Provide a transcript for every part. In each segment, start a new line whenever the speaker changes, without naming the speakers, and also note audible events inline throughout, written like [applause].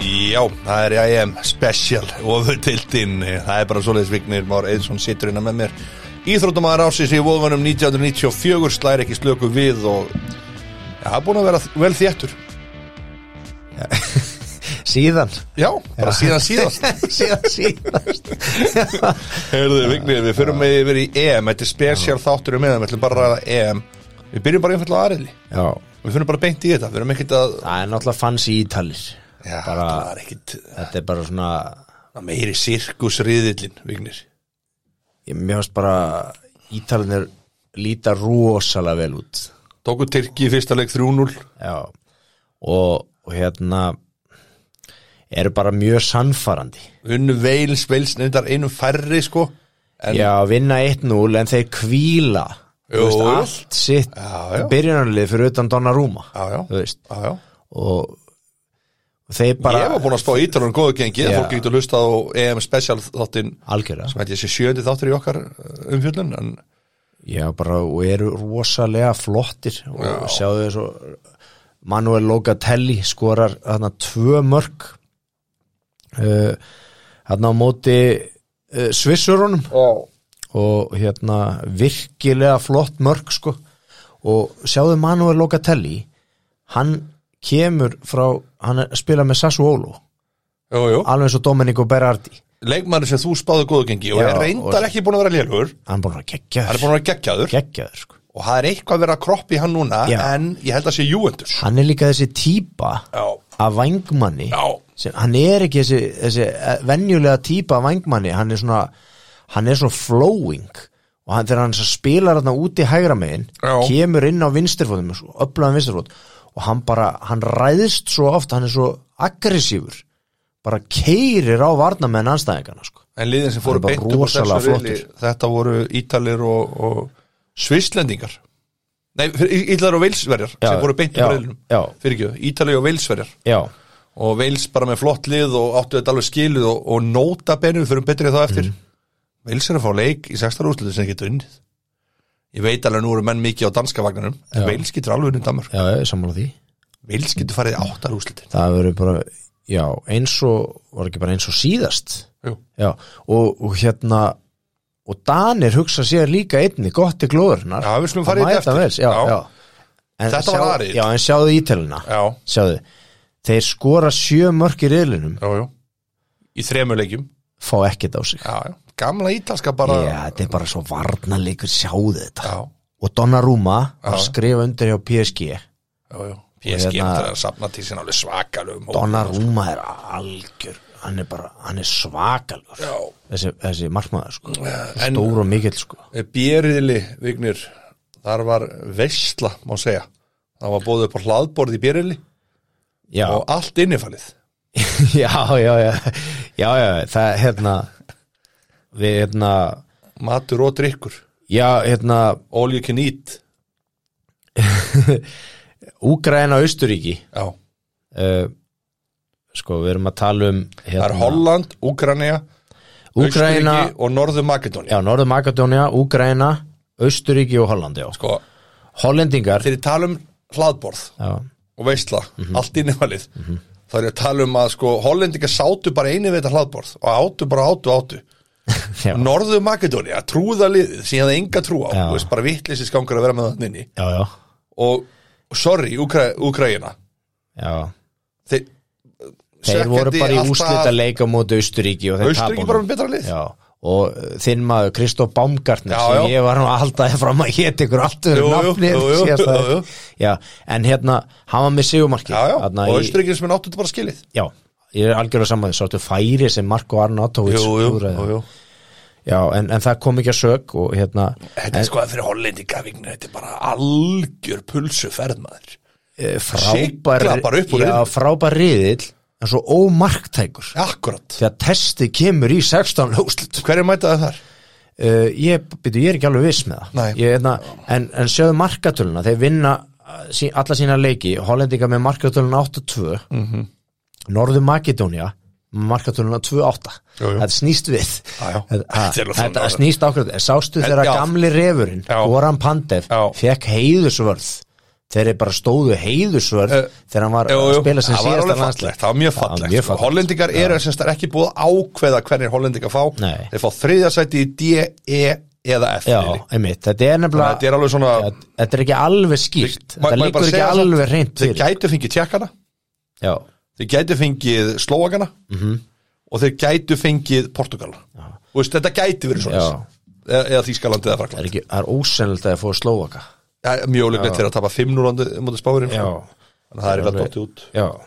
Já, það er IM Special ofurtildin, það er bara svoleiðis Vignir Már Eðsson situr innan með mér Íþróttamæður ásins í vóðvönum 1994 slæri ekki slöku við og Já, það er búin að vera vel þéttur
Síðan
Já, bara síðan [laughs] síðast
[laughs] Síðan síðast
Herðu Vignir, við fyrir með yfir í EM Þetta er special þáttur um EM, við ætlum bara að ræða EM Við byrjum bara einfallega á aðriðli
Já
Við fyrir bara beint í þetta, við erum ekkert að
Það er náttúrulega fanns í Ítalir
Já,
bara,
það er ekkert
Þetta er bara svona
það er meiri sirkusriðillin, Vignir
ég, Mér finnst bara Ítalinir líta rosalega vel út
Tóku Tyrki í fyrsta leik 3-0
Já Og, og hérna eru bara mjög sannfarandi
unnu veils, veils nefndar einu færri sko en
Já, vinna 1-0 en þeir kvíla Þú
Jú,
veist,
jú.
allt sitt
Já, já.
byrjunarlið fyrir utan Donnarúma
Já, já.
þú veist
Já, já.
og þeir bara
ég var búin að spá ítalunum góðu gengi
Já.
fólk getur hlustað á EM special þáttinn
algjörða
sem hætti þessi sjöndi þáttur í okkar uh, umfjöllun en
Já, bara og eru rosalega flottir og
Já.
sjáðu þessu Manuel Logatelli skorar þarna tvö mörg uh, þarna á móti uh, Svissurunum
oh.
og hérna virkilega flott mörg sko og sjáðu Manuel Logatelli hann kemur frá hann er að spila með Sassuolo
jú, jú.
alveg eins og Domenico Berardi
leikmann sem þú spáðu góðu gengi og
Já,
er reyndar
og-
ekki búin að vera lélugur
hann er búin að
hann er
vera geggjaður
búin að vera geggjaður
geggjaður sko
og það er eitthvað að vera að kroppa í hann núna
Já.
en ég held að sé júendur
hann er líka þessi típa
já,
af vangmanni
já,
sem, hann er ekki þessi, þessi eh, venjulega típa af vangmanni hann er svona, hann er svona flowing og hann, þegar hann svo spilar hann úti hægra megin,
Já.
kemur inn á vinstirfóðum, upplöðan vinstirfóð og hann bara, hann ræðist svo oft hann er svo aggressífur bara keirir á varnamenn anstæðingarna sko.
en liðin sem
Hann
fóru
er bara
beint upp úr þessu
rosalega
riðli, þetta voru ítalir og, og svislendingar nei, ítalir og veilsverjar
Já,
sem fóru beint
já,
upp reyðlunum
já.
fyrir ekki, Ítali og Veilsverjar
já,
og Veils bara með flott lið og áttu þetta alveg skiluð og, og nota benu við fyrir betri þá eftir
Mhm.
mm. Veils er að fá leik í sextar úrslutu sem getur unnið ég veit alveg nú eru menn mikið á danska vagnanum en Veils getur alveg unnið Danmark
já, ég er sammála því
Veils getur farið í áttar úrslutin
það verður bara, já, eins og var ekki bara eins og síðast
Jú.
já, og, og hérna og Danir hugsa sér líka einni gott í glóðurnar
Já, við skulum fara í þetta eftir.
vel, já,
Já.
já. En
Þetta var
sjá-
aðrið.
já, en sjáðu ítelina
já,
sjáðu, þeir skora sjö mörk í reyðlinum,
já, já í þremur leikjum
fá ekkert á sig já,
já, já. gamla ítalska bara
þetta er bara svo varnarleikur sjáðu þetta
já,
og Donnarumma var að
Já.
skrifa undir hjá PSG
já, já PSG
Hérna-
eftir að safna til sín alveg um svakalum
Donnarumma er algjör hann er bara, hann er svakalur
já
þessi, þessi markmaður sko
en-
stór og mikill sko
Bjeriðli, Vignir þar var veistla, má segja það var bóðið upp á hlaðborð í Bjeriðli
já,
og allt innifalið
[laughs] já, já, já, já, já, það, hérna, við, hérna,
matur og drikkur,
já, hérna,
all you can eat
Úgræna Austuríki,
já,
uh, sko, við erum að tala um,
það er
hérna,
Holland, Úkranja
Úgræna,
og Norður Makedóni
já, Norður Magadónia, Úgræna, Austuríki og Holland, já,
sko,
Hollendingar,
þegar ég tala um hlaðborð
já,
og veistla,
Mhm.
allt innifalið þá er ég að tala um að sko hollendinga sátu bara einu við þetta hlaðborð og átu bara átu átu
já,
Norður Makedóni, að trúða liðið sem ég hefði enga trú á,
Já.
þú veist bara vitleysi skangur að vera með þannig inni
já, já,
og sorry, Ukra Ukraina
já,
þeir,
þeir voru bara í úslita leika móti Austuríki og þeir
Austuriki bara með betra lið
Já, og uh, þinn maður Kristof Baumgartner
Já,
sem
já.
ég var nú alltaf fram að hétt ykkur allt
Jú,
öðru
jú,
nafni
jú, jú,
síðasta-
jú, jú.
Já, en hérna, hann var með sigumarki
já, já, og Austuriki sem er áttu þetta bara skilið
já, ég er algjörlega saman því sáttu færi sem Marko Arnautovic
jú, jú,
klúðraði.
jú, jú.
Já, en, en það kom ekki að sög og hérna,
þetta er sko að fyrir hollendinga vignu þetta er bara algjör pulsu ferðmaður
eh,
Sigla bara
frábær
upp úr
já,
riðlinum.
frábær riðill en svo ómarktækur
akkurat,
þegar testið kemur í 16 ljóslut
hverju mætaði þar?
Uh, ég, byrju, ég er ekki alveg viss með
Nei.
það ég, einna, en, en sjöðu markatöluna þeir vinna uh, sí, alla sína leiki hollendinga með markatöluna 8-2
Mhm.
-hmm. Norður Makedónia markatöluna 2-8
Jú, jú.
þetta snýst við
Já, já.
Þetta- Eh, ha,
Þetta er alveg
þetta
frábært.
snýst ákveð sástu
En,
þegar
já.
gamli refurinn
Já.
Goran Pandev
Já.
fekk heiðusvörð þeir eru bara stóðu heiðusvörð
Eh,
þegar hann var
Jú,
að
jú,
spila sem
það var
síðasta
alveg
landsleik
fallegt, það var mjög
var
fallegt,
mjög
sko. Hollendingar eru sem sagt ekki búið að ákveða hvernig Hollendingar fá
Nei.
þeir fá þriðja sæti í D, E eða F
Já,
riðli.
einmitt, þetta er
Þannig
nefnilega
að þetta er alveg svona
Þetta- þetta er ekki alveg
Má- má ég
skýrt þetta
bara
liggur ekki
segja það?
alveg reynt
þeir
fyrir
gætu fengið tjekkana
Já,
þeir gætu fengið Slovakana
Mhm.
og þeir gætu fengið Portugal og veist, þetta gæti verið svona
Já.
eða, eða Þískaland eða
það
Frakland
er, ekki, það er ósennilegt að fóða slóaka
ja, mjög óleglegt þeir að tapa 5-0 mútið spáðurinn
Já,
þannig að það er eitthvað
Alveg.
dóttið út
já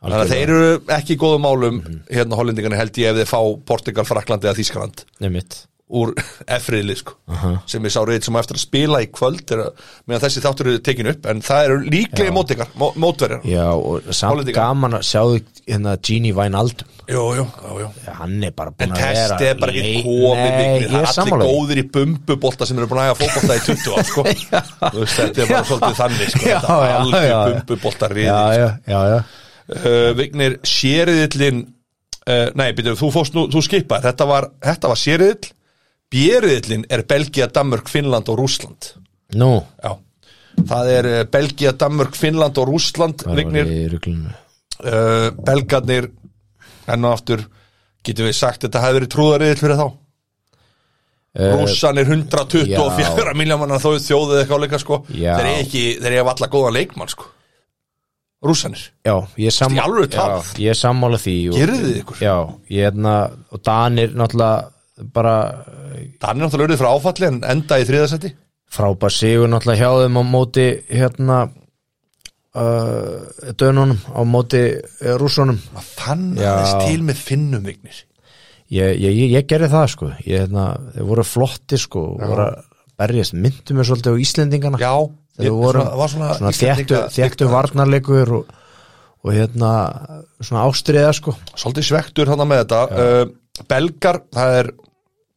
þannig að þeir eru ekki í góðum málum
Mhm.
hérna hollendingarnir held ég ef þeir fá Portugal, Frakland eða Þískaland
Einmitt,
úr [laughs] F-riðli sko sem ég sá reyð sem á eftir að spila í kvöld er að, meðan þessi þáttur eru tekin upp en það eru líklega mótikar, mó, mótverjar
já og samt
Hollendingar.
gaman að sjáðu hérna Gini Wijnaldum
Jú, jú, jú, jú
hann er bara
En
búin að vera
testi er bara ekki
lei-
komið
Nei,
mikið, það
ég er
er allir
sammála því.
góðir í bumbubólta sem eru búin að hafa fótbolta í 20 ár
[laughs]
sko. Þú veist, þetta er bara svolítið þannig sko.
Já,
þetta er
já,
alveg
já, já.
bumbubólta riði
Já, já, já, já
uh, Vignir sériðillin uh, nei, byrju, þú fórst nú, þú skipar þetta var, þetta var sériðill bjériðillin er Belgia, Danmörk, Finnland og Rússland
Nú,
já, það er uh, Belgia, Danmörk, Finnland og Rússland
hvað var
Vignir,
ég í ruglunum
uh, Belgarnir enn og aftur, getum við sagt þetta hefði verið trúðariðill fyrir þá
Eh,
Rússan er 124
já.
miljómanna þó þjóðið eitthvað líka sko
Já.
þeir eru ekki, þeir eru alla góðan leikmann sko Rússanir,
Já,
Í
ég er sammála
alvöru talað?
Já, Ég er sammála því og,
gerðu þið ykkur
Já, ég er hérna og Danir náttúrulega bara eh,
Danir náttúrulega urðið frá áfalli en enda í þriðasetti
frábær sigur náttúrulega hjá þeim á móti hérna uh, dönunum á móti uh, rússunum
maður fann
Já.
aðeins til með finnum vignir
ég, ég, ég, ég gerði það sko ég, hérna, þeir voru flotti sko og voru að berjast, myndu mér svolítið á Íslendingana
já,
þeir
ég-
voru
það var svona,
svona þéttu,
Íslendinga-
þéttu varnarleikur og, og hérna svona ástriða sko
svolítið svektur þarna með þetta uh, Belgar, það er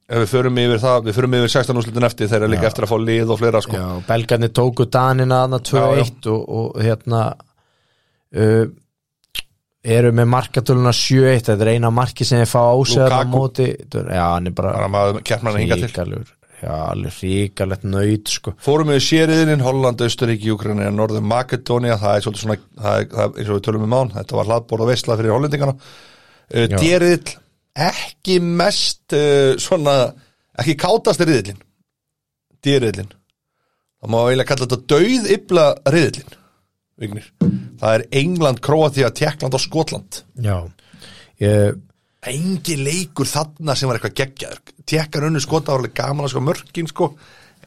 ef við förum yfir það, við förum yfir 16 úrslutin eftir þeir eru líka eftir að fá lið og fleira sko
Já, belgarnir tóku Danina þarna 2-1 og, og hérna uh, eru með markatöluna 7-1 þetta er eina marki sem ég fá ásæða á
Lukaku.
móti já, hann er bara
bara maður keppna hann hinga til
ríkalur já, alveg ríkalett nöyt sko.
Fórum við sériðin, Holland, Austuríki, Júkrinu, Norður Makedónia, það er svolítið svona, það er, það er eins og við tölum um án, þetta var hlaðborð og veistla fyrir hollendingana. Uh,
Já.
Dýriðill, ekki mest uh, svona, ekki kátast riðillin, dýriðillin. Það má eiginlega kalla þetta dauð yfla riðillin, vignir. Það er England, Króatía, Tjekkland og Skotland.
já ég,
Engi leikur þarna sem var eitthvað geggjaður. Tjekkar unnu skota var alveg gaman að sko mörkin sko,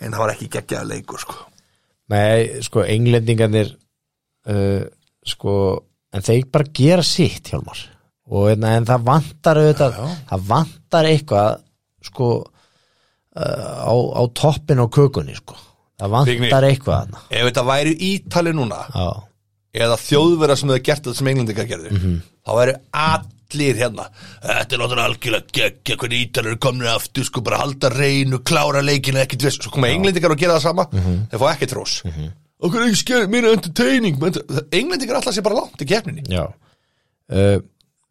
en það var ekki geggjaður leikur sko.
nei, sko, englendingarnir uh, sko en þeir bara gera sitt, Hjálmar og hérna, en það vantar auðvitað,
Já, já.
það vantar eitthvað sko uh, á, á toppin á kökunni sko, það vantar
Vigni.
eitthvað þarna.
Ef þetta væri Ítali núna
já,
eða þjóðverða sem hefur gert þetta sem englendingar gerðu
Mhm.
þá væri allir hérna Þetta er náttúrulega algjörlega geggja hvernig Ítalir eru komnir aftur sko bara halda reynu, klára leikina ekkit veist Svo koma englendingar og gera það sama
Mhm.
þeir fá ekkert rós mm -hmm. Okkur ekki sker mér er entertaining menn- Englendingar alltaf sé bara langt í keppninni
já uh,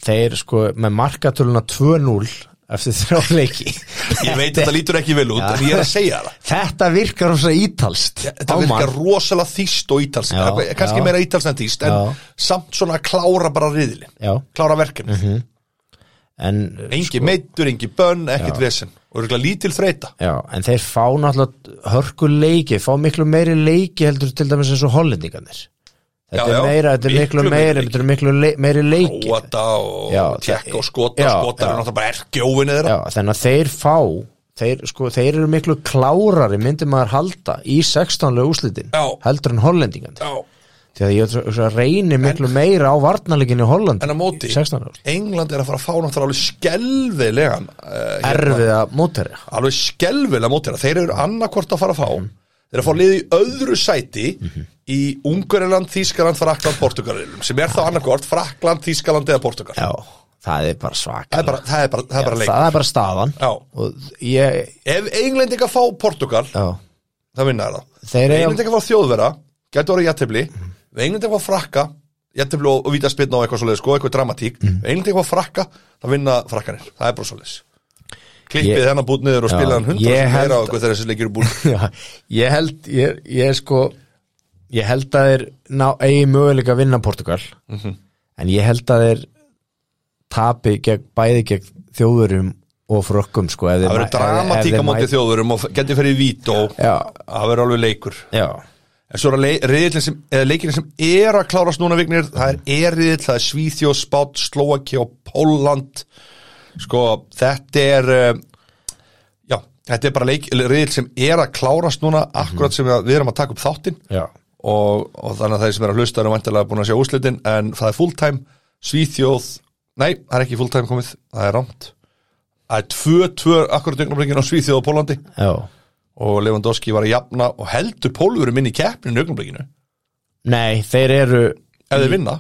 þeir sko með markatöluna 2-0 eftir þrjá [laughs] leiki
Ég veit þetta lítur ekki vel út en ég er að segja það
þetta virkar rosa ítalst
Þetta
á mann.
virkar rosalega þýst og ítalst
Já,
kannski
já.
meira ítalst en þýst en
Já.
samt svona að klára bara riðilin
já,
klára verkefni
en
Engi meittur, engi bönn, ekkert vesen og eru lítil þreita
Já, en þeir fá náttúrulega hörku leiki, fá miklu meiri leiki heldur til dæmis eins og hollendingarnir Þetta
Já, já.
er meira, þetta er miklu,
Miklu meiri leiki.
meiri, þetta er miklu le meiri leiki
Kóata og
Já,
Tjekk
það-
og Skota
já,
Skotar
já.
er náttúrulega bara erkjófinni þeirra
Já, þannig að þeir fá þeir, sko, þeir eru miklu klárari myndi maður halda í 16-lega úslitin
Já.
heldur en hollendingarnir
Já,
því að ég svo, reyni miklu meira á varnarleikinni í Holland
en að móti
16 ára
England er að fara að fá náttúrulega alveg skelvilegan uh,
erfið að mótæri
alveg skelvilega móti þeirra þeir eru annarkvort að fara að fá
Mhm.
þeir eru að fá liði í öðru sæti í Ungariland, Þískaland, Frakland, Portugalilum sem er þá annarkvort Frakland, Þískaland eða Portugal
Já, það er bara svaka
það er bara, það er bara, það er bara leik
það er bara staðan
Já.
og ég,
Ef Englendinga fá Portugal
já,
það vinna þeirra
þeir
Ef
eiga-
Englendingar fá þjóðvera, gæti orðið jættefli mm. Ef Englendingar fá frakka jættefli og, og vítaspilna og eitthvað svoleiðis sko, eitthvað dramatík mm. Ef Englendingar fá frakka, það vinna frakkanir það er bara svoleiðis Klippið
Ég-
hennan bútt niður og
Já,
spila hann hundra
ég
sem
held-
meira á okkur þegar þessi leikir er búin
Já, ég held, ég, ég sko ég held að þeir ná, eigi möguleika að vinna Portugal
Mhm.
en ég held að þeir tapi gegn, bæði gegn þjóðurum og frökkum sko,
Það verður dramatík á móti þjóðurum og getur fyrir vít og
Já.
það verður alveg leikur
já,
En svo er að reyðilin sem, eða leikin sem er að klárast núna vignir, það er eriðil, það er Svíþjó, Spát, Slóaki og Póland. Sko, þetta er, eh, já, þetta er bara leik, reyðil sem er að klárast núna, akkurat sem við við erum að taka upp þáttinn
já,
og, og þannig að þeir sem er að hlusta eru vantilega búin að sjá úslitin, en það er fulltime, Svíþjóð, nei, það er ekki fulltime komið, það er rámt. Það er tvö, tvö, akkurat yngnablikinn á Svíþjóð og Pólandi
já
og Lewandowski var að jafna og heldur pólverum inn í keppninu augnablikinu ef
nei, þeir eru
þeir vinna,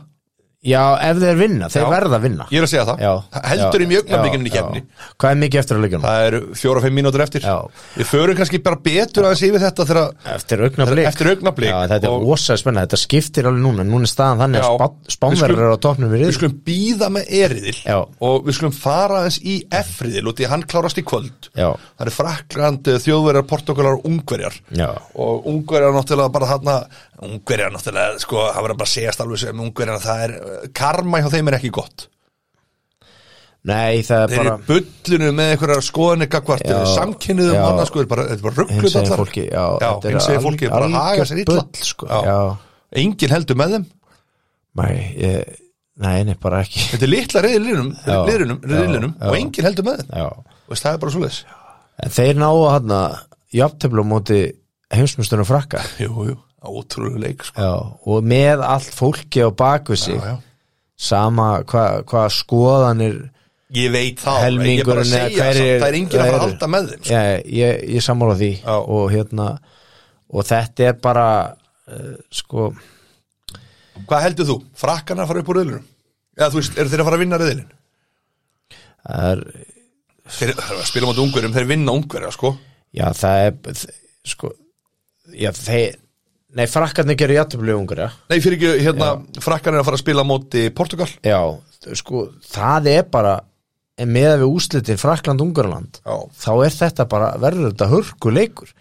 já, ef þeir vinna, þeir
Já.
verða að vinna
ég er að segja það
já,
heldur
já,
þeim í augnablikinu inn í
já,
keppni
já. hvað er mikið eftir að leikja nú?
það eru fjóra-fimm mínútur eftir
Já.
við förum kannski bara betur aðeins yfir þetta þegar að
Eftir augnablik
Eftir augnablik.
Já, þetta er
Og-
og... ósæð spenna, þetta skiptir alveg núna Núna er staðan þannig
Já.
að Spán- Spánverjar
Við skulum-
eru á topnum við
við
riðil
skulum býða með eriðil
Já.
og við skulum fara aðeins í efriðil og því að hann klárast í kvöld
Já,
það eru Frakland, eh, Þjóðverjar, Portugalar og Ungverjar
já,
og Ungverjar náttúrulega bara þarna Ungverjar náttúrulega, sko, það verður bara að segjast alveg sem Ungverjar, það er eh, karma hjá þeim er ekki gott
nei það er
Þeir eru
bara
í bullinu með einhverjar skoðanir gagvart
Já,
samkynniðum
já.
og annað sko, þeir bara, þetta er bara rugglut
Hinsegin fólki Já,
já
þetta er
hins
alg-
eginn fólki, bara að haga
algjört
sér illa
bull, sko. Já,
Engin heldur með þeim
nei, ég, nei, nei, bara ekki
Þetta er litla reyðlinum
Já,
reyðlinum,
já,
reyðlinum
já.
og engin heldur með þeim
Já,
Veist, Það er bara svoleiðis
en þeir náu hann að Jafntöflu á móti heimsmyndstuna frakka
Jú, jú, ótrúlega leik sko.
Já, og með allt fólki á bakvið sig
já, já.
Sama hvað hva skoðanir
Ég veit það, ég er bara að
Helmingurinn eða
segja
hverjir-
samt, það er engin að fara að
eru.
halda með þeim sko.
Já, ég, ég sammála því
Já.
og hérna og þetta er bara uh, sko,
Hvað heldur þú? Frakkana fara upp úr reyðlinum? Eða þú veist, eru þeir að fara að vinna reyðlin?
það er
Þeir þeir spila mát ungverjum, þeir vinna ungverja sko.
já, það er þ- sko, já, þeir nei, frakkarnir gerur játtöflu ungur
Nei, fyrir ekki, hérna, frakkana er að fara að spila á móti Portugal
já, þ- sko, það er bara en meða við úslitin Frakland Ungarland
Já.
þá er þetta bara, verður þetta hörkuleikur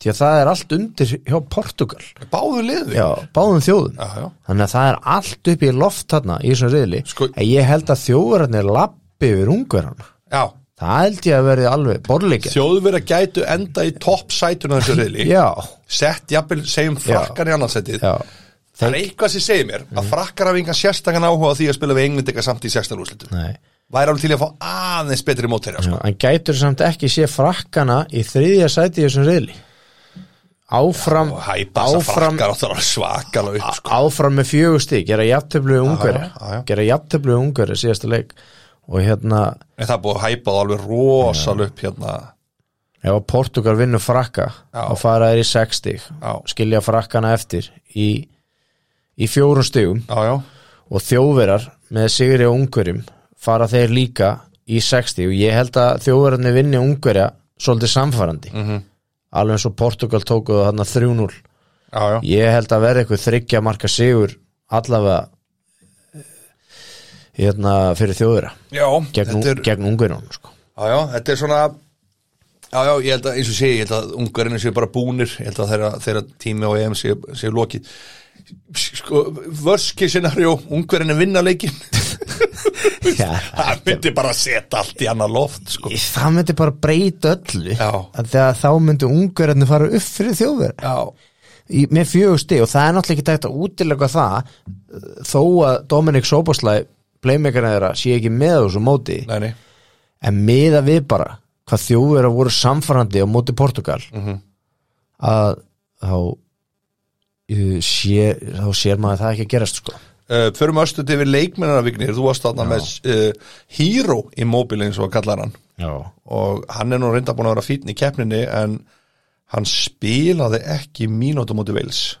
því að það er allt undir hjá Portugal,
Báðu liði
já, báðum þjóðum
já, já.
þannig að það er allt upp í loft þarna í þessum riðli,
Sko-
en ég held að þjóðverðarnir lappi yfir ungverðarna
já.
það held ég að verði alveg borleikja
Þjóðverja gætu enda í topp sætuna þessu reyli
já,
Sett, jafnvel, segjum frakkar í annarsætið
já,
Það er eitthvað sem segir mér
Mhm.
að frakkar hafa engan sérstakann áhuga á því að spila við englendika samt í sérstakar úrslitum
nei
Væri alveg til í að fá aðeins betri mótherja sko.
hann gætur samt ekki sé frakkana í þriðja sæti í þessum riðli áfram
og hæpa þess að
áfram,
frakkar áttar alveg svakalega upp sko.
áfram með fjögur stík gera jafntöflu
já, já.
ungverja gera jafntöflu ungverja síðasta leik og hérna,
En það er búið að hæpa það alveg rosalega upp hérna
ef að Portugal vinnur frakka
Já.
og fara þeir í 6 stík
Já.
skilja frakkana eftir í, í fjórun stígum
Já, já,
og þjóðverar með Sigri og Ungverjum fara þeir líka í 60 og ég held að þjóðverarnir vinni Ungverja svolítið samfærandi
Mhm.
-hmm. alveg eins og Portugal tókuðu þarna 3-0
já, já.
ég held að verða eitthvað þryggja marka sigur allavega eh, hérna fyrir þjóðvera
já
gegn,
þetta er-
gegn Ungverjum sko.
Já, já, þetta er svona Já, já, ég held að, eins og sé, ég held að ungarinn séu bara búnir, ég held að þeirra, þeirra tími á EM séu, séu lokið sko, vörski scenario ungarinn er vinna leikinn
Já.
[laughs] það myndi bara setja allt í annar loft, sko
Í- það myndi bara breyta öllu
Já.
Af því að þá myndi Ungverjarnir fara upp fyrir þjóðvera
Já,
í, með fjögur stig og það er náttúrulega ekki dægt að útilega það uh, þó að Dominik Sóboslæ playmakerna þeirra sé ekki með á þessu móti
nei, nei
en miða við bara hvað þjóður að voru samfarrandi á móti Portugal að þá uh, sé, þá sér maður það ekki að gerast sko.
uh, Förum östuð yfir leikmennarvignir, þú varst þarna með uh, Hero Immobile eins og hann kallar hann
Já.
og hann er nú reynda búin að vera fínn í keppninni en hann spilaði ekki mínútu móti veils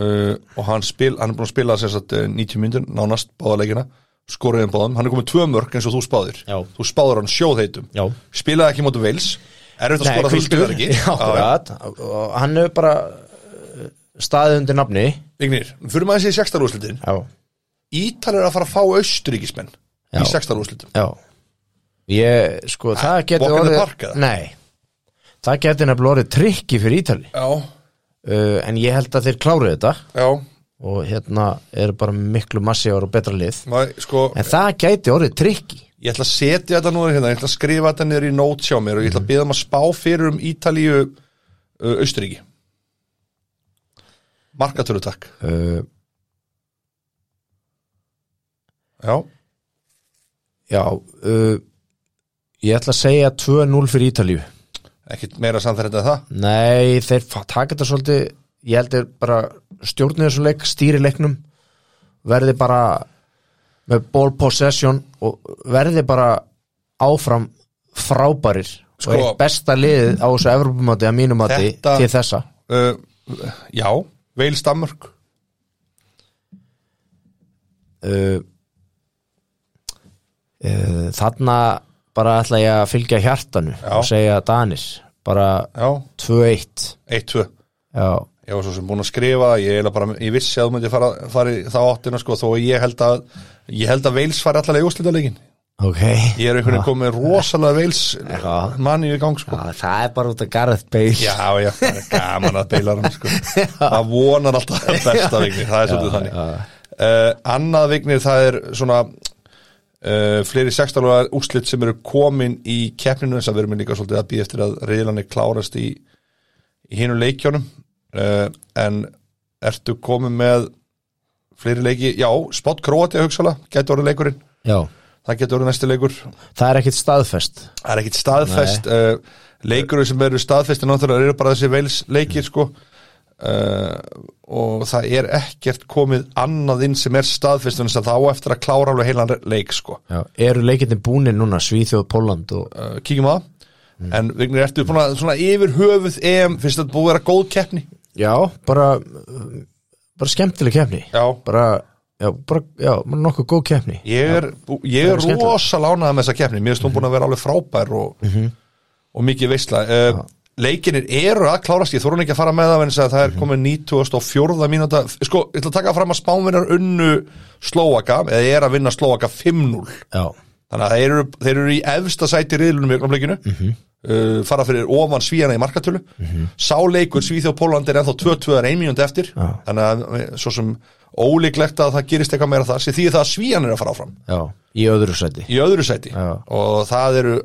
uh, og hann, spil, hann er búin að spila sem sagt, eh, 90 myndur, nánast báðarleikina skoraðum báðum, um hann er komið tvö mörk eins og þú spáðir
Já.
þú spáður hann sjóðheitum
Já.
spilaði ekki móti veils er þetta að skora þú spilaði ekki
[laughs] Já, akkurat. og hann hefur bara uh, staðið undir nafni
Vignir, fyrir maður að sé sextarúslitin
Já.
Ítal er að fara að fá austuríkismenn
Já.
í sextarúslitum
Já Ég, sko, það
walk
geti
in the
orðið
park, eða?
Nei, það geti nefnilega orðið trikki fyrir Ítali
Já,
uh, en ég held að þeir kláru þetta
Já,
og hérna eru bara miklu massívar og betra lið
má, sko,
en það gæti orðið trikki
ég ætla að setja þetta nú hérna, ég ætla að skrifa þetta niður í nót hjá mér og ég ætla að beða um að spá fyrir um Ítalíu uh, Austuríki Markatölu takk
uh,
Já,
já uh, ég ætla að segja 2-0 fyrir Ítalíu
ekkit meira samþærið en það
nei, þeir fa- taka þetta svolítið ég held þeir bara stjórnir þessu leik stýri leiknum verði bara með ball possession og verði bara áfram frábærir
Sko-
og eitt besta liðið á þessu Evropamati að mínum mati
Þetta-
til þessa
uh, Já, Veils Danmörk
uh, uh, þarna bara ætla ég að fylgja hjartanu og segja Danis bara
Já,
2-1
1-2
já,
Ég var svo sem búin að skrifa ég, eiginlega bara, ég vissi að þú myndi fara, fara í þá áttina sko, þó að ég held að ég held að Veils fari allalega í úrslitaleikin
ok
Ég er einhvern veginn komið með rosalega Veils
Já.
manni í gang sko
Já, það er bara út af Gareth Bale
Já, já, það er gaman að beila hann sko. Það vonar alltaf það besta vignir, það er svolítið þannig uh, Annað vignir, það er svona uh, fleiri sextalega úrslit sem eru komin í keppninu þess að við erum líka svolítið að býja eftir að reyðlanir klárast í, í hinu leikjónum uh, en ertu komin með fleiri leiki, já, spott króti að hugsaðla, getur orðið leikurinn
já,
það getur orðið næsti leikur
það er ekkit staðfest
það er ekkit staðfest uh, leikur sem eru staðfest en náttúrulega eru bara þessi veils leikir sko uh, og það er ekkert komið annað inn sem er staðfest en þess að þá eftir að klára alveg heilan leik sko
já. eru leikinni búinir núna Svíþjóð, Póland og
uh, kíkjum á það en Vignir, ertu búin að svona yfir höfuð EM, finnst þetta búið að vera góð keppni?
já, bara uh, bara skemmtileg keppni
Já,
bara, já, bara, já, bara nokkuð góð keppni
ég er, bú- ég er
Það er skemmtilegt.
rosa lánað með þessa keppni, mér finnst hún búin að vera alveg frábær og,
Mhm.
og mikið veistla uh, leikinir eru að klárast ég þorun ekki að fara með það, vegna þess að það
Mhm.
er komið 94. mínúta, sko, ég ætla að taka fram að spánvinnar unnu Slóaka eða er að vinna Slóaka 5-0
já,
þannig að þeir eru, þeir eru í efsta sæti riðlunum í ögnumleikinu
Mhm.
uh, fara fyrir ofan svíjana í markatölu sáleikur Svíþjóð Pólandi er ennþá 22 ein mínúti eftir,
Já.
þannig að eh, svo sem ólíklegt að það gerist eitthvað meira þar sem því það að svíjan er að fara áfram
já, í öðru sæti
í öðru sæti
Já.
og það eru,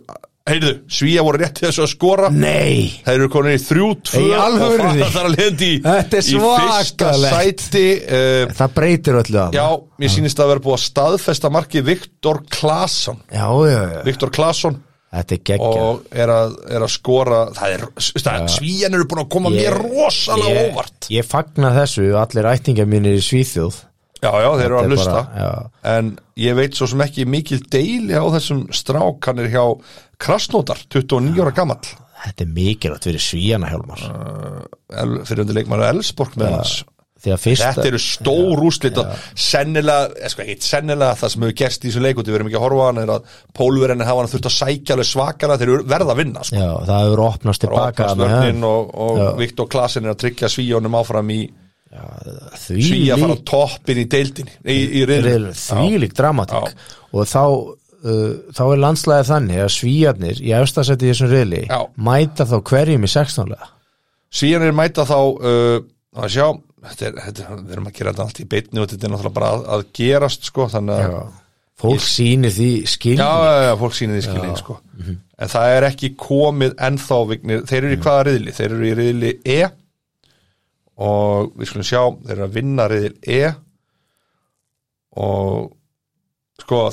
heyrðu, svíja voru rétt til þessu að skora
nei
Þeir eru konin í þrjú, tvö
Í
og
alvörunni?
fara [laughs] þar að lendi í,
Þetta er
í fyrsta
svakalegt.
sæti uh,
Það breytir öllu að
Já, mér sýnist að vera búið að staðfesta marki Viktor Klaasson
já, já, já.
Viktor Klaasson
Þetta er geggja
og er að, er að skora það er, það, svíjan eru búin að koma mér rosalega óvart
Ég fagna þessu og allir ættingar mínir í Svíþjóð
Já, já, þeir eru
Þetta
að
er
hlusta
bara- já.
en ég veit svo sem ekki mikil deili á þessum strákanir hjá Krasnótar, 29 ára gamall
Þetta er mikilvægt fyrir Svíjana Hjálmar
El- fyrirhundi leikmann Elsborg með hans
Því að fyrsta
Þetta eru stór úrslit og sennilega, eða sko ekki, sennilega það sem hefur gerst í þessu leikuti, við erum ekki að horfa á hann er að pólverðinni hafa hann þurft að sækja alveg svakana þeir eru verða að vinna, sko.
Já, það hefur opnast tilbaka með
Rókastvörnin
hann.
og, og Viktor Klasin er að tryggja svíjónum áfram í
Því
svíja að fara á
lík
toppin í deildinni, í, í riðlum.
Því lík dramatik Og þá uh, þá er landslæðið þannig að Svíjarnir í efstasætti í þessum reyli
Já.
mæta þá hverjum í 16 lega
Svíjan er mæta þá, uh, að sjá, þetta er, þetta, er- við erum að gera þetta allt í beitni og þetta er náttúrulega bara að, að gerast, sko, þannig að
Fólk sýnir því skil
Já, já, já, fólk sýnir því skilning sko. En það er ekki komið ennþá vignir, þeir eru í hvaða riðli? Þeir eru í riðli E og við skulum sjá, þeir eru að vinna riðil E og sko,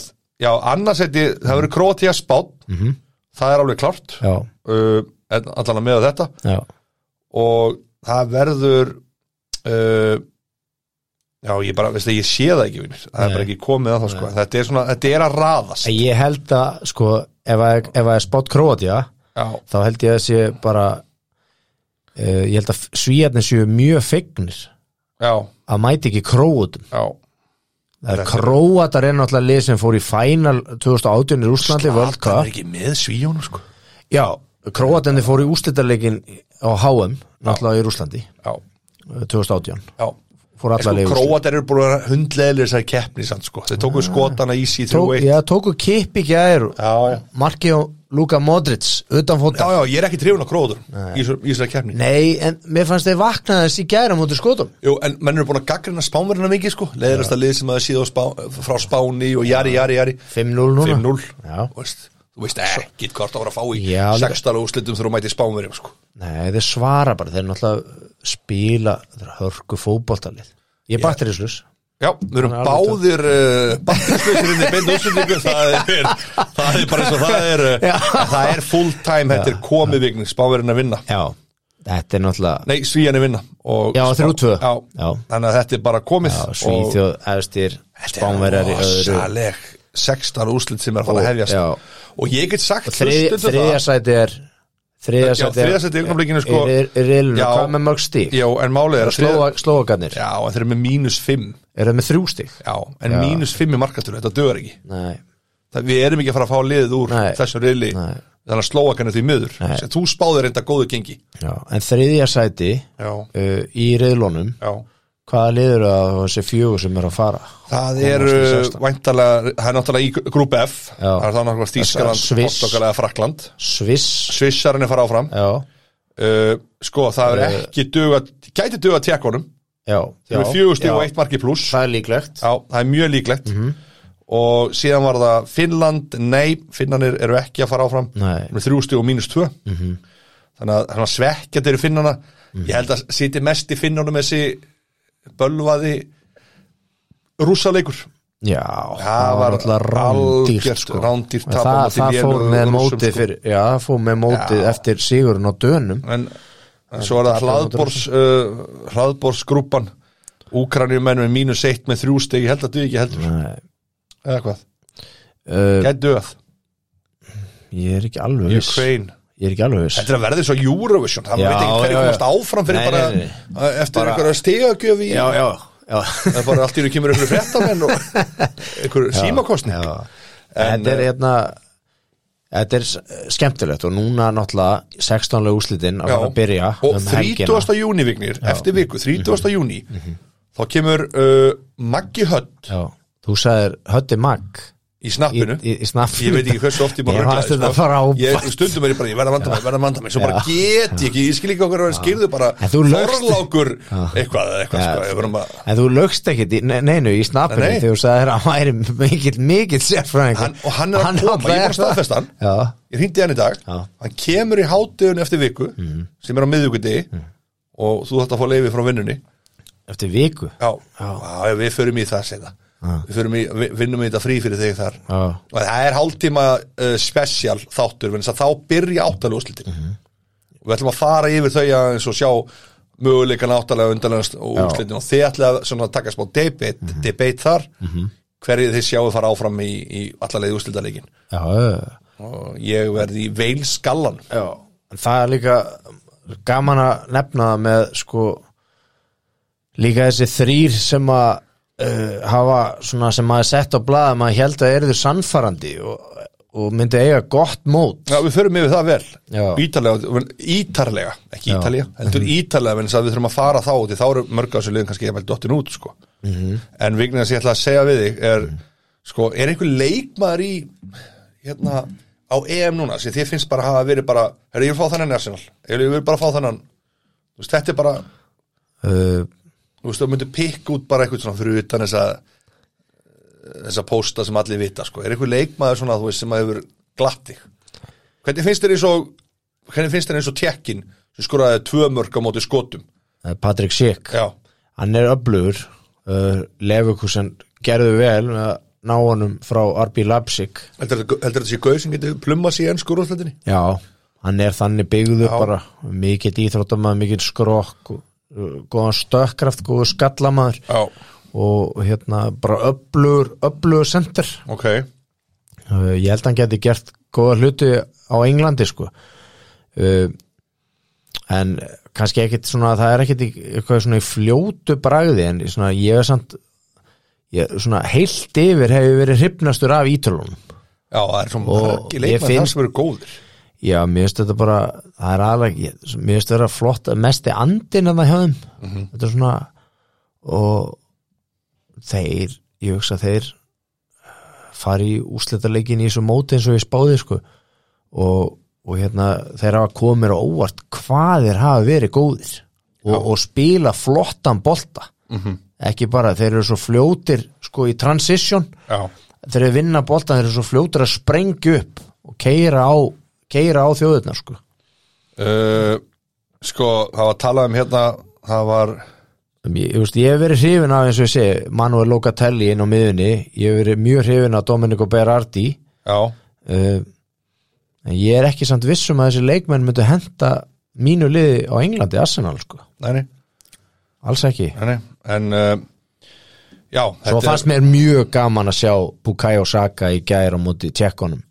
já, annars heiti, það verður Krótía spátt
Mhm.
það er alveg klart
Já,
uh, en allan að meða þetta
já,
og það verður uh, já, ég bara, veistu, ég sé það ekki vignir, það er
Nei.
bara ekki komið að það sko, þetta er svona, þetta er að raðast
En ég held að sko, ef að, ef að er spott Króatía
Já,
þá held ég að sé bara uh, ég held að svíjarnir séu mjög fegnir
já
að mæti ekki Króatum
Já,
það er Króatar er náttúrulega lið sem fór í final 2018 í Úslandi
Zlatan
World
er
Cup
ekki með svíjónu sko
já, Króatarnir fór í úslitaleikin á HM náttúrulega í Úslandi
Já,
2018
já,
fór alla
Sko,
leið úr
Króatar eru búin að hundleðilega þessar keppni samt, sko. Þeir tóku skotana í sí 3-1
Ah. Tók,
Já,
já, tóku kipp í gæður
já
Marki og Luka Modric utanfóta
Já, já, ég er ekki trefun á króður í þessu- í þessari keppni
Nei, en mér fannst þeir vaknaði þessi gæra mútið skotum
Jú, en menn eru búin að gaggrina spánverðina mikið, sko Leðirast að lið sem að síða spá, frá Spáni og jari, jari, jari
5-0 núna
5-0
Já.
Þú veist, þú veist ekki hvort það voru að fá í
Já, alveg.
sextala úrslitum þegar þú mætið spánverðum, sko
Nei, þeir svara bara, þeir náttúrulega spila þeir eru hörku fótboltalið Ég er batterislus
Já, við erum
Hann er alveg
báðir uh, batterslöysirinn í beinu
[laughs]
útsendingu það, er- það er bara eins og það er
Já.
uh, það er full time, þetta er komið vikning spánverðin að vinna
Já, þetta er náttúrulega
Nei, svíjan er vinna og
Já,
Spá-
3-2.
Já.
Já.
Þannig að þetta er bara komið
Já, Svíþjóð, efstir, spánverjar í öðru
Sáleg, sextar úrslit sem er að fara að hefjast
já.
Og ég get sagt
Þrið-
hlustendum
Þriðja
það-
sæti er Þriðja
Já, þriðja sæti í augnablikinu, sko.
er, er, er, er,
Já.
Hvað með mörg stík?
Já, en málið er að þriðja-
Slóagarnir,
Já, en þeir eru með mínus fimm
eru það með þrjú stík?
Já, en mínus fimm í markastur, þetta dögur ekki
Nei,
það, Við erum ekki að fara að fá liðið úr
Nei.
þessu reyli
Nei.
Þannig að slóakanu því miður
Nei.
Sem Þú spáðir reynda góðu gengi
já, en þriðja sæti
Já,
uh, í riðlónum
já
hvaða liður að þessi fjögur sem eru að fara
Það eru
í sextán.
væntalega, það er náttúrulega í grúp F
Já.
Það er það náttúrulega Þískaland,
Sviss.
Portugal eða Frakland
Sviss
Svissarinn er fara áfram
já,
uh, Sko, það er ekki duga Gæti duga tjekkonum
já,
Þeir
Eh. já,
eru fjögur stig og
já,
eitt marki pluss
það Mhm. er líklegt
Já, það er mjög líklegt Og síðan var það Finnland, nei Finnanir eru ekki að fara áfram
Nei.
Með þrjú stig og mínus tvö -hmm.
Mhm.
Þannig að þannig að svekkjað eru Finnana Ég held að sitja mest í Finnanum þessi bölvaði rússaleikur
já,
Það
það var alltaf rándýrt
algjört
sko.
rándýrt
En
tap á
það,
móti
það fór
lélegu
með
Rússum,
mótið
sko.
fyrir, já, það fór með mótið eftir sigurinn á dönum
En en svo er það hlaðbors uh, hlaðborsgrúpan Úkranjumenn með mínus eitt með þrjú stig Ég held að duð ekki heldur
Nei,
Eða hvað,
uh,
gæti duð
ég er ekki alveg viss ég
Ukraine
er ekki alveg viss
Þetta er að verði svo Eurovision Það
Já,
veit ekki hverju
já, já.
komast áfram fyrir
Nei,
bara
nei, nei.
uh, eftir einhverja stegagjöf í
já, já,
það er bara allt í hennu kemur einhverju frettamenn og einhverju símakostning
[laughs] já. þetta
eh,
er hérna Þetta er s- skemmtilegt og núna náttúrulega 16. úrslitin
Já.
að fara að byrja
og
um helgina. Mhm.
30. júni vignir eftir viku, 30. júni þá kemur uh, Maggi Hödd
Já, þú sagðir Hötti Magg
í
í,
snappinu
í, í snappinu
ég veit ekki hversu oft ég búin
Mér
að
fannst þetta
rugla þessu, sko.
frábært.
Ég- stundum er ég bara, ég verða að vanda mig, verða að vanda mig svo bara get ég ekki, ég skil ekki okkur að vera skilðu bara
En þú lögst-
forlákur eitthvað, eitthvað,
Já.
sko, ég verðum að
En þú lögst ekkit í, ne- neinu í snappinu
Nei, nei.
þegar þú sagðir að hann væri mikill, mikill sérfræðingur
Hann- og hann er að koma, ég
náttúrulega
er bara
það.
staðfesta hann.
Já,
ég hringdi í hann í dag
Já. Mm.
hann kemur í hátdegun eftir viku sem er á miðvikudegi og þú þátt að fá leifi frá vinnunni
eftir viku
já, já. við förum í það segna við förum í, vi- vinnum í þetta frí fyrir þig þar
Já,
og það er hálftíma uh, special þáttur vegna þess að þá byrja áttalega úrslitin
Mhm.
og við ætlum að fara yfir þau aðeins og sjá möguleikan áttalega undanlegast og
Já. Mhm.
úrslitin og þið ætla að svona, taka smá debate, debate þar hverju þið sjáu fara áfram í, í allalegi úrslitaleikin
já, já
og ég verði í veilskallan
Já, en það er líka gaman að nefna það með sko líka þessi þrýr sem að uh, hafa svona sem maður sett á blaða maður held að eru þau sannfarandi og, og myndi eiga gott mót
Já, við förum yfir það vel
Já.
Ítarlega, ítarlega, ekki
Já. Mhm.
ítalja heldur ítarlega, menn að við þurfum að fara þá út í þá eru mörg á þessu liðum kannski eða dottin út sko.
Mhm.
-hmm. en vignir þess ég ætla að segja við þig er, sko, er einhver leikmaður í hérna á EM núna, sem þið finnst bara að hafa verið bara, herri, ég vil fá þannan í Arsenal ég vil- ég vil bara fá þannan Þú veist, þetta er bara,
uh,
þú veist, þú myndir pikk út bara eitthvað svona fyrir utan þessa þessa pósta sem allir vita sko. er einhver leikmaður svona, þú veist, sem að hefur glatt þig hvernig finnst þér eins og hvernig finnst þér eins og tjekkin sem skoraði tvö mörg á móti skotum
Patrik eh, Schick
já,
hann er öflugur uh, Lefukusen gerðu vel með að ná honum frá RB Leipzig
heldur þetta heldur þetta sé gauð sem getur plumma sig í enn skorúðsletinni
já, hann er þannig byggðu bara mikill íþróttamaður, mikill skrokk og, uh, góðan stökkraft, góðu skallamaður
já,
og hérna bara öflugur, öflugur sendir
ok
uh, ég held að hann geti gert góða hluti á Englandi sko uh, en kannski ekkit svona það er ekkit í- eitthvað svona í fljótu bragði en í svona ég er samt ég, svona heilt yfir hefur verið hrifnastur af ítölunum
já, það er svona
Og
margi
ég
leikmaður
finn-
það sem eru góðir
já, mér finnst þetta bara það er aðlega, ég- mér finnst þetta vera flott að mesti andin að það hjá þeim þetta er svona og þeir, ég hugsa að þeir fari í úsletaleikin í þessu móti eins og ég spáði sko og, og hérna þeir hafa komið mér á óvart hvað þeir hafa verið góðir og, og spila flottan bolta -hmm. ekki bara, þeir eru svo fljótir sko í transition
já,
þeir eru vinna bolta, þeir eru svo fljótir að sprengja upp og keira á keira á þjóðirna sko
uh, sko, það var talað um hérna það var,
Um, Ég, ég, veist, ég hef verið hrifin af eins og ég segi Manuel Locatelli inn á miðunni ég hef verið mjög hrifin af Domenico Berardi
já,
uh, en ég er ekki samt vissum að þessi leikmenn myndu henda mínu liði á Englandi Arsenal sko,
næni,
alls ekki
næni en, uh, já
svo
þetta er-
fannst mér mjög gaman að sjá Bukayo Saka í gæra á móti tjekkonum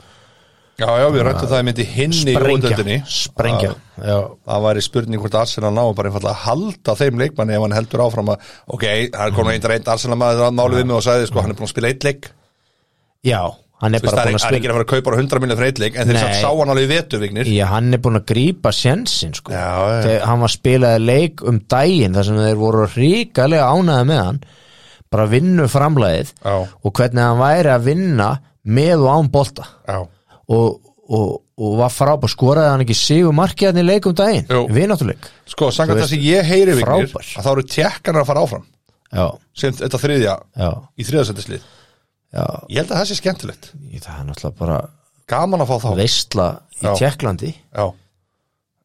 já, já, við rættum það myndi hinni í Ah. útöldinni
sprengja, sprengja. Já,
það væri spurning hvort Arsenal ná bara einfallega að halda þeim leikmanni ef hann heldur áfram að ok, hann kom einn reynd Arsenal maður að málu við mig og sagði sko, hann er búin að spila eitt leik Þú
já, hann er
veist,
bara
það er það er
búin að
ekki
spila
að fara að kaupa bara 100 miljonar fyrir eitt leik en þeir
Nei.
samt sá hann alveg í veturvignir
Já, hann er búin að grípa sjensin sko.
Já, já.
Þegar hann var spilaði leik um daginn þar sem þeir voru ríkalega ánæði með hann bara vinnu framlæðið
Já.
og hvernig hann væri að vinna með og án bolta
já,
og, og, og var frábær skoraði hann ekki sigur markiðan í leik um daginn
Jú.
vináttuleik
sko,
Þú
sangat
veist,
þess að ég heyri vignir
frábær.
að þá eru tjekkanar að fara áfram
já,
sem þetta þriðja
já,
í þriðasættislið
já
ég held að það sé skemmtilegt,
Í- það er náttúrulega bara
gaman að fá þá
veistla í
Já.
Tjekklandi
já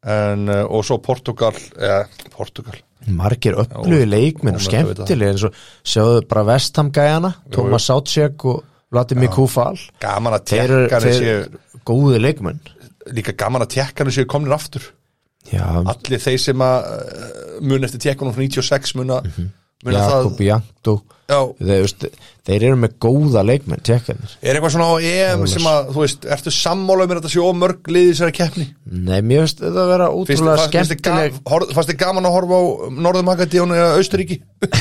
En, uh, og svo Portugal eh, Portugal,
margir upplöðu leikminn
ómögulegt að
og
vita.
skemmtileg eins og sjáðu bara Vesthamgæjana Thomas Sátsjök og Vladimir Kúfal
gaman að
þeir eru
tjekkanir
þeir
séu
góðu leikmenn
líka gaman að tjekkanir séu komnir aftur
já,
allir þeir sem að eh, mun eftir tekkunum frá 96 muna, muna
Jakob
það
Jankdó
já,
þeir, veist, þeir eru með góða leikmenn tjekkanir,
er eitthvað svona á EM sem að, þú veist, ertu sammála um að þetta sé ómörg liðið sér að keppni
nei, mér finnst þetta að vera
Finnst-
útrúlega
fannst- finnst þér
skemmtileg
ga- horf- fannst þið gaman að horfa á Norðumakadíónu eða Austuríki
[laughs]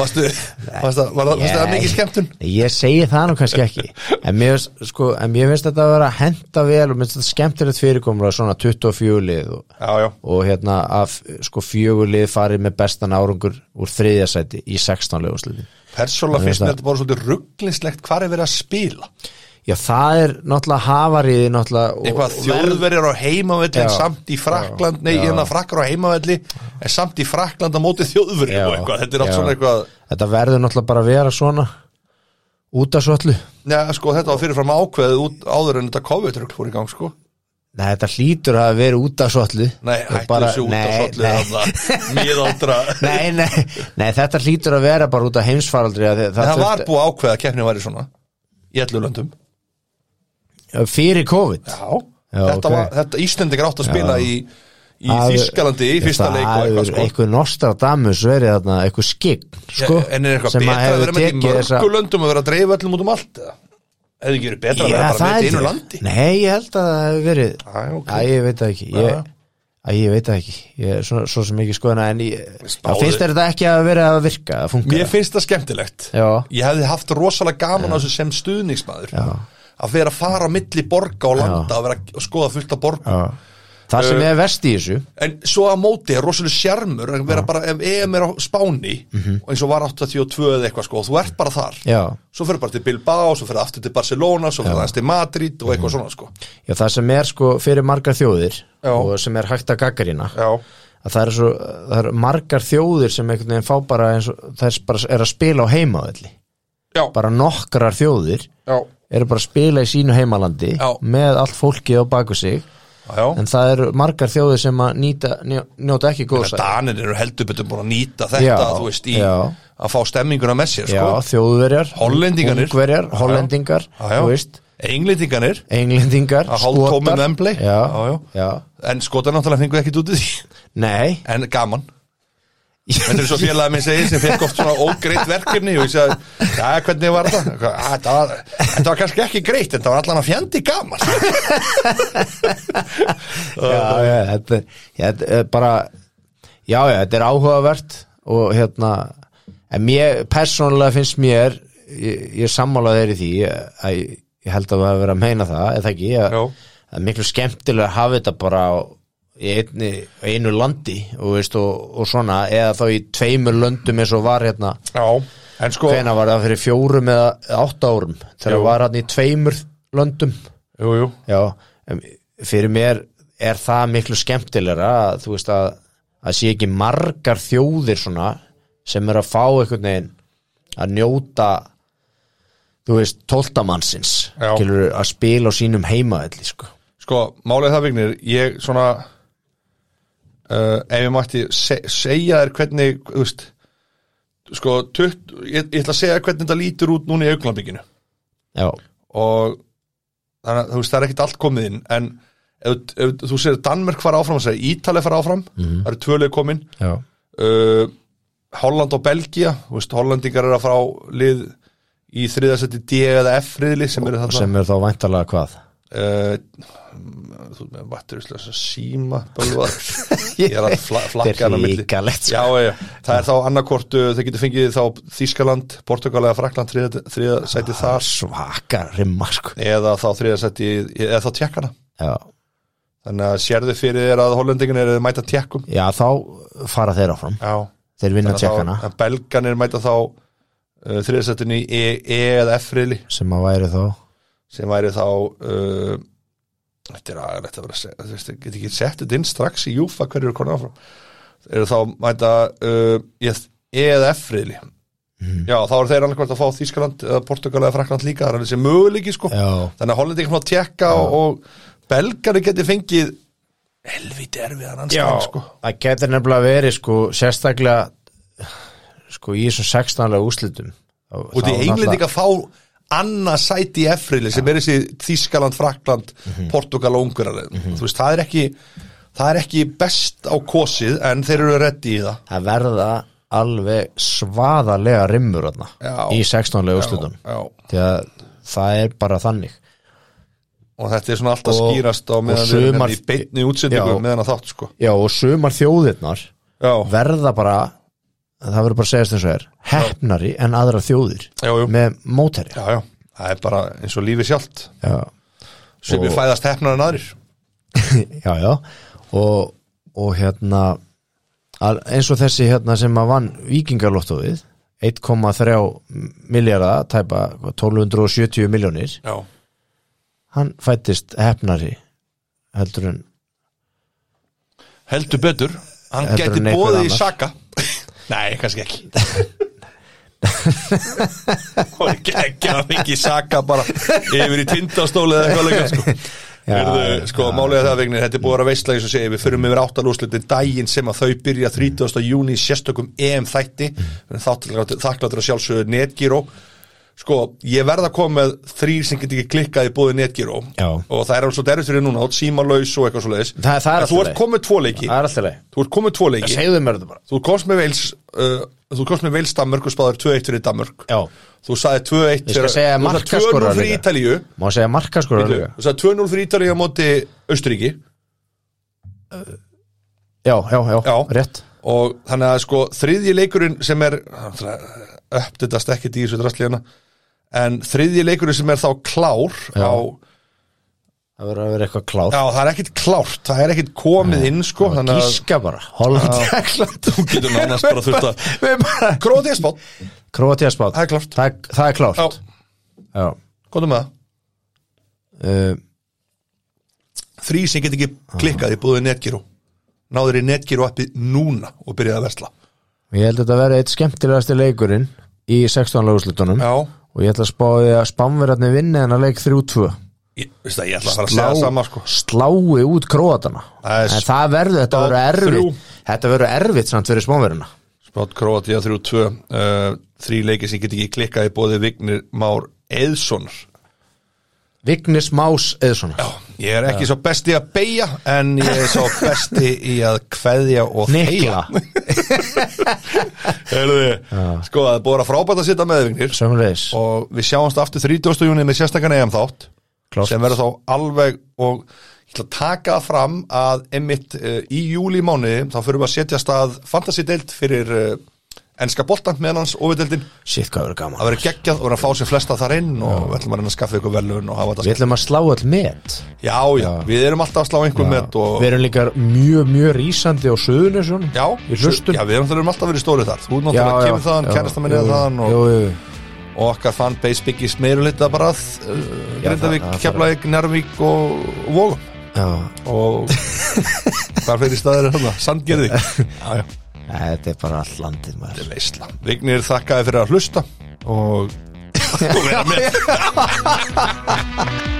varstu, fannst það var það- fannst það
Nei.
mikið skemmtun
ég segi það nú kannski
[laughs]
ekki en mér finnst, sko, en mér finnst þetta að vera að henda vel og mér finnst þetta skemmtilegt fyrirkomur svona 24 lið og
já, já,
og hérna að sko fjögulið farið með bestan árangur úr þriðjasæti í 16 lögumslutin
persóla
Nei,
finnst
það-
mér þetta bara svolítið rugglislegt hvað er verið að spila
já það er náttúrulega hafariði náttúrulega og-
eitthvað
og verð-
þjóðverjar á heimavelli en
Já.
samt í Frakland, nei, hérna frakkar á heimavelli en samt í Frakland á móti
Já.
þjóðverjar og eitthvað, þetta er allt
Já.
svona eitthvað
þetta verður náttúrulega bara að vera svona út af svo allu
Já, sko, þetta var fyrirfram ákveðið út áður en þetta COVID-rugl fór í gang, sko.
nei þetta hlýtur að vera út af svo allu
Nei,
Og
hættu
bara-
þessu út af
nei,
svolítið
nei.
þarna, miðaldra.
[laughs] Nei, nei, nei, þetta hlýtur að vera bara út af heimsfaraldri að þi-
En
það
það var
þurfti-
búið að ákveða að keppnið væri svona í ellu löndum.
fyrir COVID
Já,
Já,
þetta
ok.
var, þetta Íslandi grátt að spila í, í
Það-
Þískalandi í fyrsta leik og eitthvað, sko.
eitthvað Nostradamus verið þarna eitthvað skikn sko,
en er eitthvað
sem að
betra að
hefur
vera með í
tekið
mörgu
þessa-
löndum og vera að dreifa öllum út um allt? eða? Hefði ekki verið betra að vera
Já,
bara með
það
þetta í einu
er
landi?
Nei, ég held að það hefur verið
Æ, ok.
Æ, ég veit það ekki
Já.
Ég, Æ, ég veit það ekki Ég er svo, svo sem ekki skoðina En ég,
Spáðu.
það finnst þér þetta ekki að vera að virka að funka
Mér finnst það skemmtilegt
Já.
Ég hefði haft rosalega gaman á þessu sem stuðningsmaður
Já.
Að vera að fara á milli borga og landa Að vera að skoða fullt af borga
Já. Það
Eh,
sem er verst í þessu
En svo að móti er rosalega sjarmur Að vera bara, ef EM er á Spáni Og eins og var 82 eða eitthvað sko og Þú ert bara þar
Mhm. Já.
Svo fyrir bara til Bilbao, svo fyrir aftur til Barcelona Svo fyrir aðeins til Madrid og
Mhm.
eitthvað svona sko
Já, það sem er sko fyrir margar þjóðir
Já.
og sem er hægt að gaggarina
Já,
að það er, svo, það er margar þjóðir sem einhvern veginn fá bara eins og það er bara er að spila á heimaðalli
já,
bara nokkrar þjóðir
já,
eru bara að spila í sínu heimalandi
Já.
með allt fólkið á baku sig
já.
en það eru margar þjóðir sem að nýta, njó- njóta ekki góðsæk
Danir eru heldur betur búin að nýta þetta
Já,
Þú veist, í
já.
að fá stemminguna með sér
já,
sko
þjóðverjar,
Hollendingarnir. Já,
ungverjar,
já.
hollendingar
Já, já.
þú veist,
Englendingarnir
englendingar
Að hálftómum
Skotar.
Wembley.
já,
Já, já.
já.
En skotar náttúrulega fengu ekkit út í því [laughs]
nei
En gaman Þetta er svo félagið minn segir sem fekk oft svona ógreitt verkefni og ég sagði, já, hvernig var það? Hvað, "Ah, Þetta var, þetta var kannski ekki greitt, þetta var allan að fjandi gaman.
já, já, þetta, er- já, þetta er bara já, já, þetta er áhugavert og hérna en mér, persónulega finnst mér ég, ég sammála þeir í því að ég, ég held að það hafi verið að meina það, eða ekki að,
Jó.
að miklu skemmtilega að hafa þetta bara á, í einni, einu landi og, veist, og, og svona, eða þá í tveimur löndum eins og var hérna
Já, en sko
hvena var það fyrir fjórum eða átta árum þegar
Jú.
var hann í tveimur löndum
Jú, jú
já, em, fyrir mér er það miklu skemmtilegra að þú veist að að sé ekki margar þjóðir svona sem er að fá einhvern veginn að njóta þú veist, tóltamannsins
Já.
Skilurðu, að spila á sínum heima sko.
Sko, málið það vignir, ég svona uh, ef ég mætti se segja þér hvernig, þú veist sko, tutt, ég, ég ætla að segja þér hvernig þetta lítur út núna í augnlambinginu
já,
og þannig að þú veist, það er ekkert allt komið inn en ef, ef þú segir að Danmörk fara áfram, segir Ítalið fara áfram það eru tvöleik komin
já,
uh, Holland og Belgia þú veist, Hollandingar eru að fara á lið í þriðasetti D eða F riðli sem eru þarna
sem er þá væntalega hvað
uh, þú með vatnuruslega síma bölvar ég er að fla, flakka hann á milli já,
ríkalegt sko.
já, já. það er þá annarkort uh, þeir getur fengið þá Þískaland, Portugal eða Frakland þriða, þriða sæti
Ah. [laughs]
þar
svaka rimma sko.
eða þá þriða sæti eða þá tjekkana
já.
þannig að sérðu fyrir þér að hollendingin eru að mæta tjekkum
já, þá fara þeir áfram
já,
þeir vinna tjekkana
að belganir mæta þá uh, þriðasettin í e, e eða F riðli
sem að væri þá
sem væri þá uh, þetta er aðeins að vera að segja, þú veist, ég get ekki sett þetta inn strax í júfa hverju eru konar áfram eru þá mæta uh, yes, E eða F riðli já þá eru þeir annarkvæmt að fá Þískaland eða Portugal eða Frakland líka, það er þessi möguleiki sko
já,
þannig að Hollandi ekki að tekka og, og belgari geti fengið helviti erfiðan anstæðing sko
það getur nefnilega verið sko, sérstaklega sko, í þessum 16-lega úslitum
og því englendinga fá annað sæti í F-riðli sem er þessi Þískaland, Frakland,
Mhm.
Portugal og Ungarar þú veist, það er ekki það er ekki best á kosið en þeir eru reddi í það
það verða alveg svaðalega rimmur þarna,
Já.
í 16-lega úslitum
já.
því að það er bara þannig
og þetta er svona alltaf
Og-
skýrast á
og
meðan við erum
sumar-
hérna í beinni útsendingu
Já.
meðan að þátt sko
já, og sumar þjóðirnar
já,
verða bara það verður bara að segjast eins og er hefnari en aðra þjóðir
já, já,
með mótæri
já, já það er bara eins og lífi sjálft
já,
sem við
Og-
fæðast hefnar en aðrir
já, já og, og hérna al- eins og þessi hérna sem að vann vikingarlóttóið 1,3 miljarda tæpa hvað, 1270 miljónir
já,
hann fættist hefnari heldur en
heldur betur hann
Heldur
gæti
en einhver
bóðið í
annar.
saka [laughs] nei, kannski ekki [laughs] og ekki ekki að fengi saka bara yfir í tindastóli eða eitthvað leika sko,
[laughs] Já,
Heyrðu, sko
já.
málega það vegnir, þetta er búið að veistla eins og segja, við förum yfir áttalúslutin daginn sem að þau byrja 30. júni í sérstökum EM þætti, þakkláttur að sjálfsögðu Netgyro sko, ég verð að koma með þrýr sem get ekki klikkað í búið Netgyro
Já.
og það er alveg svo derfið fyrir núna, átt símalaus og eitthvað svo leiðis,
Það- það er allt í
þú ert
lagi.
komið tvo leiki
það er alltaf leið,
þú ert komið tvo leiki
segðu mér þetta bara
þú komst með Vils uh, þú komst með Vils Danmörk og spáður 2-1 fyrir Danmörk
Já.
þú sagði 2-1
Ég skal
fyrir-
segja
þú sagði 2-0
markaskorar
fyrir
líka.
Ítalíu
má segja markaskora líka
þú sagði 2-0 fyrir Ítalíu á móti Austuríki
já, já, já,
Já.
rétt
og þannig að sko þriðji leikurinn sem er uppditast ekkert í þessu drastlíðana en þriðji leikurinn sem er þá klár
Já.
á,
það verður að vera eitthvað klár
já það er ekkit klárt það er ekkit komið inn sko þannig að
gíska bara, Holland, [laughs] England þú
getur nánast bara þurft að-
við bara
Krótið spátt,
Kroatia spáð,
það er klárt
það, er- það er
já,
klárt já,
komum með það
Uh,
þrý sem get ekki klikkað í búið netgíru náður í netgíru appi núna og byrjaði að versla
ég held að þetta verði eitt skemmtilegasti leikurinn í 16 löguslutunum
já,
og ég ætla að spá því að spánverðarni vinni en að leik 3-2
ég, veist það, ég ætla að fara að segja það sama sko
slái út króatana
Það er
en það verður, þetta
spá
verður
þrjú.
erfitt þetta verður erfitt samt fyrir spánverðarna
Spátt Kroatia 3-2 uh, þrý leiki sem get ekki klikkað í búið Vignir Már Eðssonar
Vignis Más eða svona
ég er ekki svo besti að beigja en ég er svo besti í að kveðja og
Nikla,
Heyrðu, sko það er búið að frábært að sitja með þér, Vignir
sömulegis
og við sjáumst aftur 30. júni með sérstakann EM þátt
Klárt.
sem verður þá alveg og ég ætla að taka það fram eh, að einmitt uh, í júli mánuði þá fyrir við að setja af stað fantasy deilt fyrir uh, enska boltan meðan hans ofudeldin
Shit, hvað verður gaman
að vera geggjað og vera að fá sér flesta þar inn og við ætlum að reyna að skaffa ykkur velun og hafa þetta
Við ætlum að slá all met
já, já, við erum alltaf að slá einhver met og
Við erum líka mjög, mjög rísandi á söðunni svona
já,
Í hlustum
já, við erum náttúrulega alltaf verið stórið þar þú erum náttúrulega að kemur þaðan, kærasta minni er þaðan og,
Jú, jú, jú.
og okkar fanbase byggis meira lita bara að uh, Grindavík,
það- það-
Keflavík, Nærvík og og Vogum
Já,
og hvað fyrir staðir er þarna? hérna? Sandgerði já, já,
þetta er bara all landið maður
veistla Vignir þakkaði fyrir að hlusta og og vera með